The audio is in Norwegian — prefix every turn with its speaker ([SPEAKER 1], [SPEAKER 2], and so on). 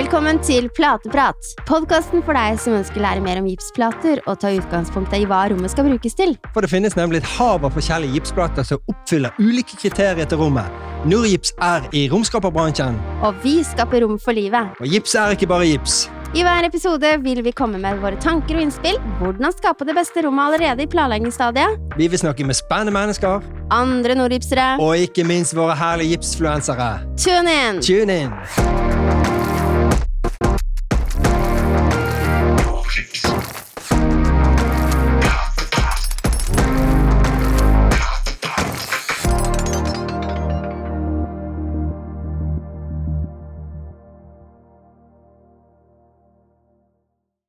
[SPEAKER 1] Velkommen til Plateprat, podkasten for deg som ønsker å lære mer om gipsplater og ta utgangspunkt i hva rommet skal brukes til.
[SPEAKER 2] For det finnes nemlig et hav av forskjellige gipsplater som oppfyller ulike kriterier til rommet. Nordgips er i romskaperbransjen,
[SPEAKER 1] Og vi skaper rom for livet.
[SPEAKER 2] og gips er ikke bare gips.
[SPEAKER 1] I hver episode vil vi komme med våre tanker og innspill, hvordan skape det beste rommet allerede i planleggingsstadiet,
[SPEAKER 2] Vi vil snakke med spennende mennesker,
[SPEAKER 1] andre nordgipsere
[SPEAKER 2] og ikke minst våre herlige gipsfluensere.
[SPEAKER 1] Tune in!
[SPEAKER 2] Tune in!